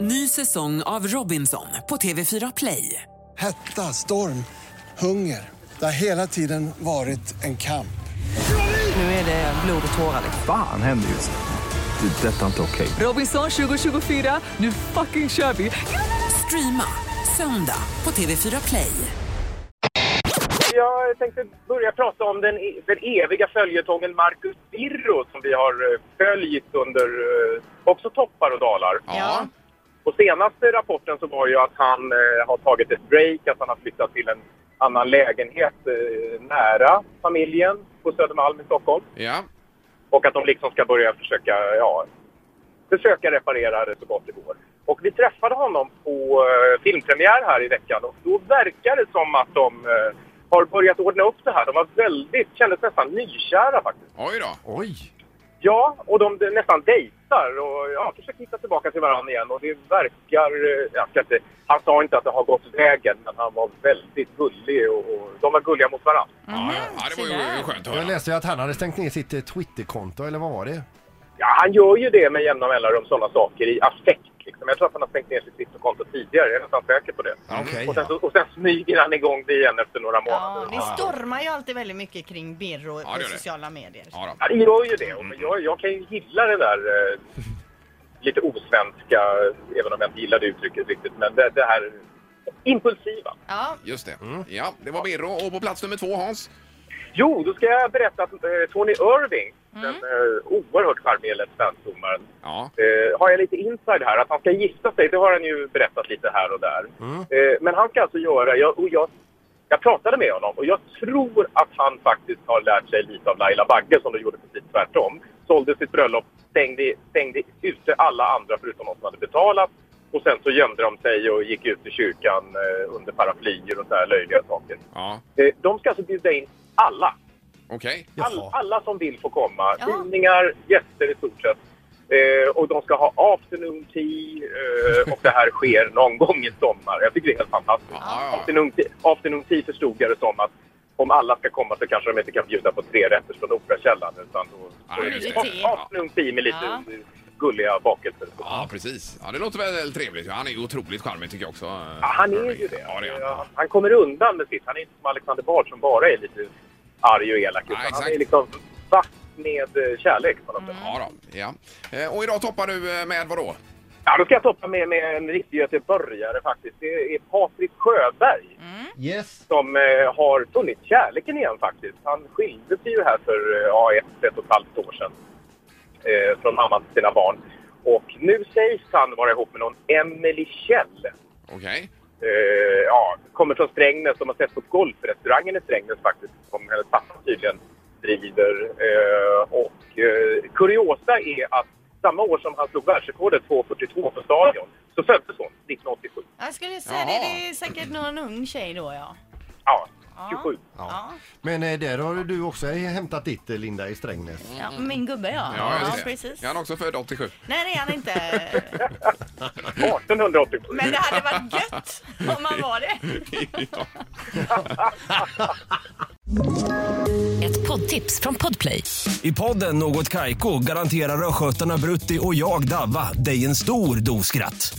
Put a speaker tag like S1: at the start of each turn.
S1: Ny säsong av Robinson på TV4 Play.
S2: Hetta, storm, hunger. Det har hela tiden varit en kamp.
S1: Nu är det blod och tårar. liksom.
S3: Fan händer just nu. Det. är Detta är inte okej.
S1: Robinson 2024, nu fucking kör vi! Streama söndag på TV4 Play.
S4: Jag tänkte börja prata om den, e-, den eviga följetongen Marcus Birro som vi har eh, följt under eh, också toppar och dalar.
S5: Ja.
S4: Och senaste rapporten så var ju att han eh, har tagit ett break, att han har flyttat till en annan lägenhet eh, nära familjen på Södermalm i Stockholm.
S5: Ja.
S4: Och att de liksom ska börja försöka, ja, försöka reparera det så gott det går. Och vi träffade honom på eh, filmpremiär här i veckan och då verkar det som att de eh, har börjat ordna upp det här. De var väldigt, kändes nästan nykära faktiskt.
S5: Oj då.
S3: Oj!
S4: Ja, och de de nästan dejtar och ja, försöker hitta tillbaka till varandra igen och det verkar, eh, jag ska inte, han sa inte att det har gått vägen men han var väldigt gullig och, och de var gulliga mot varandra.
S5: Ja,
S4: Mhm.
S5: ja. ja, det var ju- ju skönt att
S6: Jag
S5: höra.
S6: läste ju att han hade stängt ner sitt eh, Twitterkonto, eller vad var det?
S4: Ja, han gör ju det med jämna mellanrum, sådana saker i affekt. Liksom. Jag tror att han har stängt ner sitt Twitterkonto tidigare, jag är nästan säker på det.
S6: Okej,
S4: och, sen, så-
S6: ja.
S4: och sen smyger han igång det igen efter några månader.
S7: Ja, det stormar ju alltid väldigt mycket kring Birro
S5: Ja, det
S7: på
S5: gör det.
S7: sociala medier.
S5: Ja, då.
S4: Ja, det gör ju det. Och jag, jag kan ju gilla det där eh, lite osvenska, även om jag inte gillar det uttrycket riktigt, men det, det här impulsiva.
S7: Ja,
S5: Just det. Ja, det var Birro. Och på plats nummer två, Hans.
S4: Jo, då ska jag berätta att eh, Tony Irving, den eh, oerhört charmige Let's Dance-domaren,
S5: Ja.
S4: eh, har jag lite inside här. Att han ska gifta sig, det har han ju berättat lite här och där. Eh, men han ska alltså göra, jag, och jag, jag pratade med honom och jag tror att han faktiskt har lärt sig lite av Laila Bagge som då gjorde precis tvärtom. Sålde sitt bröllop, stängde, stängde ute alla andra förutom de som hade betalat. Och sen så gömde de sig och gick ut i kyrkan eh, under paraplyer och så här löjliga saker.
S5: Ja,
S4: Eh, de ska alltså bjuda in alla
S5: okej.
S4: All,
S6: Jaha.
S4: alla som vill får komma.
S7: Ja.
S4: Tidningar, gäster i stort sett. Eh, och de ska ha afternoon tea eh, och det här sker någon gång i sommar. Jag tycker det är helt fantastiskt.
S5: Ja, ja.
S4: Afternoon, tea, afternoon tea förstod jag det som att om alla ska komma så kanske de inte kan bjuda på tre rätter från Operakällaren utan då
S5: Ja,
S4: då är
S5: just
S7: det.
S4: af- afternoon tea med lite
S7: Ja.
S4: gulliga bakelser.
S5: Ja, precis. Ja, det låter väl trevligt. Ja, Han är ju otroligt charmig tycker jag också.
S4: Ja, han är ju det.
S5: Ja, det är
S4: Eh,
S5: han.
S4: Han kommer undan med sitt. Han är inte som Alexander Bard som bara är lite arg och elak.
S5: Ja,
S4: utan han
S5: exakt.
S4: är liksom vass med eh, kärlek på något sätt.
S5: Ja, då. ja. Eh, Och idag toppar du eh, med vad då?
S4: Ja, då ska jag toppa med, med en riktig göteborgare faktiskt. Det är Patrik Sjöberg
S6: Yes.
S4: som eh, har funnit kärleken igen faktiskt. Han skilde sig ju här för eh, ja, ett, ett och ett halvt år sedan eh, från mamman till sina barn. Och nu sägs han vara ihop med någon Emily Kjell.
S5: Okej.
S4: Eh, ja, kommer från Strängnäs. De har sett på golfrestaurangen i Strängnäs faktiskt, som hennes pappa tydligen driver. Eh, och eh, kuriosa är att samma år som han slog världsrekordet 2.42 på stadion så föddes hon 1987.
S7: jag skulle säga det.
S5: Jaha.
S7: Det är säkert någon ung tjej då ja.
S4: Ja,
S7: Ja.
S4: 27.
S7: Ja.
S6: Men eh, där har du också hämtat ditt, eh, Linda, i Strängnäs.
S7: ja, min gubbe ja.
S5: just det.
S7: precis.
S5: Är han också född 87?
S7: Nej, det är han inte.
S4: 1887.
S7: Men det hade varit gött om han var det.
S5: ja.
S8: Ett poddtips från Podplay.
S9: I podden Något Kaiko garanterar östgötarna Brutti och jag, Davva, dig en stor dos skratt.